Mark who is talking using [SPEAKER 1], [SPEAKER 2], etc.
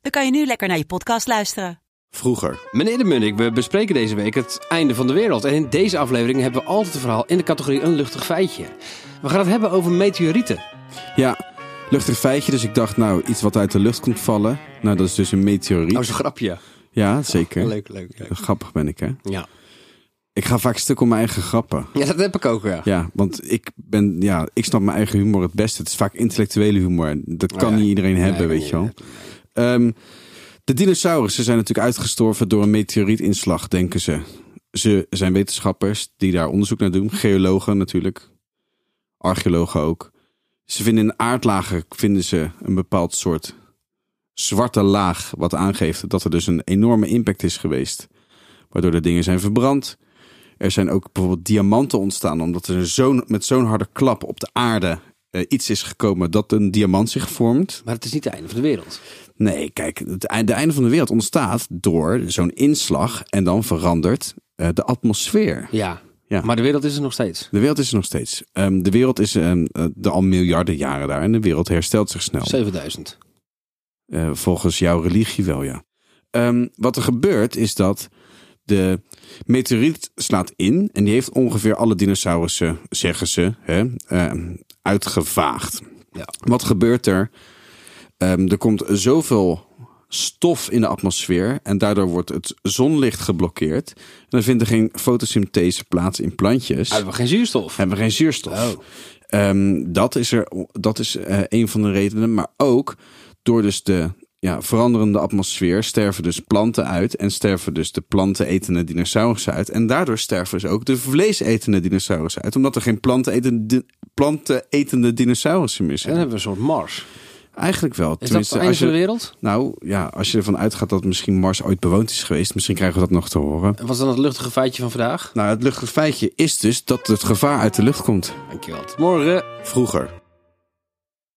[SPEAKER 1] dan kan je nu lekker naar je podcast luisteren.
[SPEAKER 2] Vroeger. Meneer de Munnik, we bespreken deze week het einde van de wereld. En in deze aflevering hebben we altijd een verhaal in de categorie een luchtig feitje. We gaan het hebben over meteorieten.
[SPEAKER 3] Ja, luchtig feitje. Dus ik dacht, nou, iets wat uit de lucht komt vallen. Nou, dat is dus een meteoriet.
[SPEAKER 2] Oh, zo'n grapje.
[SPEAKER 3] ja, zeker.
[SPEAKER 2] Leuk, leuk, leuk.
[SPEAKER 3] Grappig ben ik, hè?
[SPEAKER 2] Ja.
[SPEAKER 3] Ik ga vaak stuk om mijn eigen grappen.
[SPEAKER 2] ja, dat heb ik ook, ja.
[SPEAKER 3] Ja, want ik ben, ja, ik snap mijn eigen humor het beste. Het is vaak intellectuele humor. Dat kan
[SPEAKER 2] Oh ja.
[SPEAKER 3] niet iedereen
[SPEAKER 2] Nee,
[SPEAKER 3] hebben,
[SPEAKER 2] kan
[SPEAKER 3] weet
[SPEAKER 2] niet
[SPEAKER 3] je wel.
[SPEAKER 2] iedereen
[SPEAKER 3] Ehm, de dinosaurussen zijn natuurlijk uitgestorven door een meteorietinslag, denken ze. Ze zijn wetenschappers die daar onderzoek naar doen. Geologen natuurlijk. Archeologen ook. Ze vinden in aardlagen vinden ze een bepaald soort zwarte laag. Wat aangeeft dat er dus een enorme impact is geweest. Waardoor de dingen zijn verbrand. Er zijn ook bijvoorbeeld diamanten ontstaan. Omdat er zo'n- met zo'n harde klap op de aarde eh, iets is gekomen dat een diamant zich vormt.
[SPEAKER 2] Maar het is niet het einde van de wereld.
[SPEAKER 3] Nee, kijk, het einde, de einde van de wereld ontstaat door zo'n inslag en dan verandert eh, de atmosfeer.
[SPEAKER 2] Ja.
[SPEAKER 3] Ja.
[SPEAKER 2] Maar de wereld is er nog steeds.
[SPEAKER 3] De wereld is er nog steeds. Ehm, de wereld is ehm, eh, de al miljarden jaren daar en de wereld herstelt zich
[SPEAKER 2] Oh.
[SPEAKER 3] snel.
[SPEAKER 2] 7000.
[SPEAKER 3] Eh, volgens jouw religie wel, ja. Ehm, wat er gebeurt is dat de meteoriet slaat in en die heeft ongeveer alle dinosaurussen, zeggen ze, hè, ehm, uitgevaagd.
[SPEAKER 2] Ja.
[SPEAKER 3] Wat gebeurt er? Ehm, er komt zoveel stof in de atmosfeer en daardoor wordt het zonlicht geblokkeerd. En dan vindt er geen fotosynthese plaats in plantjes.
[SPEAKER 2] Hebben we geen zuurstof.
[SPEAKER 3] Hebben we geen zuurstof.
[SPEAKER 2] Oh.
[SPEAKER 3] Ehm, dat is, er, dat is eh, een van de redenen. Maar ook door dus de ja, veranderende atmosfeer sterven dus planten uit. En sterven dus de plantenetende dinosaurussen uit. En daardoor sterven dus ook de vleesetende dinosaurussen uit. Omdat er geen plantenetende, di- plantenetende dinosaurussen meer
[SPEAKER 2] En dan
[SPEAKER 3] zijn.
[SPEAKER 2] hebben we een soort Mars.
[SPEAKER 3] Eigenlijk wel.
[SPEAKER 2] Is dat het einde
[SPEAKER 3] als
[SPEAKER 2] van de
[SPEAKER 3] je,
[SPEAKER 2] wereld?
[SPEAKER 3] nou ja, als je ervan uitgaat dat misschien Mars ooit bewoond is geweest. Misschien krijgen we dat nog te horen.
[SPEAKER 2] En Wat is dan het luchtige feitje van vandaag?
[SPEAKER 3] Nou, het luchtig feitje is dus dat het gevaar uit de lucht komt.
[SPEAKER 2] Dankjewel. Tot Morgen.
[SPEAKER 3] Vroeger.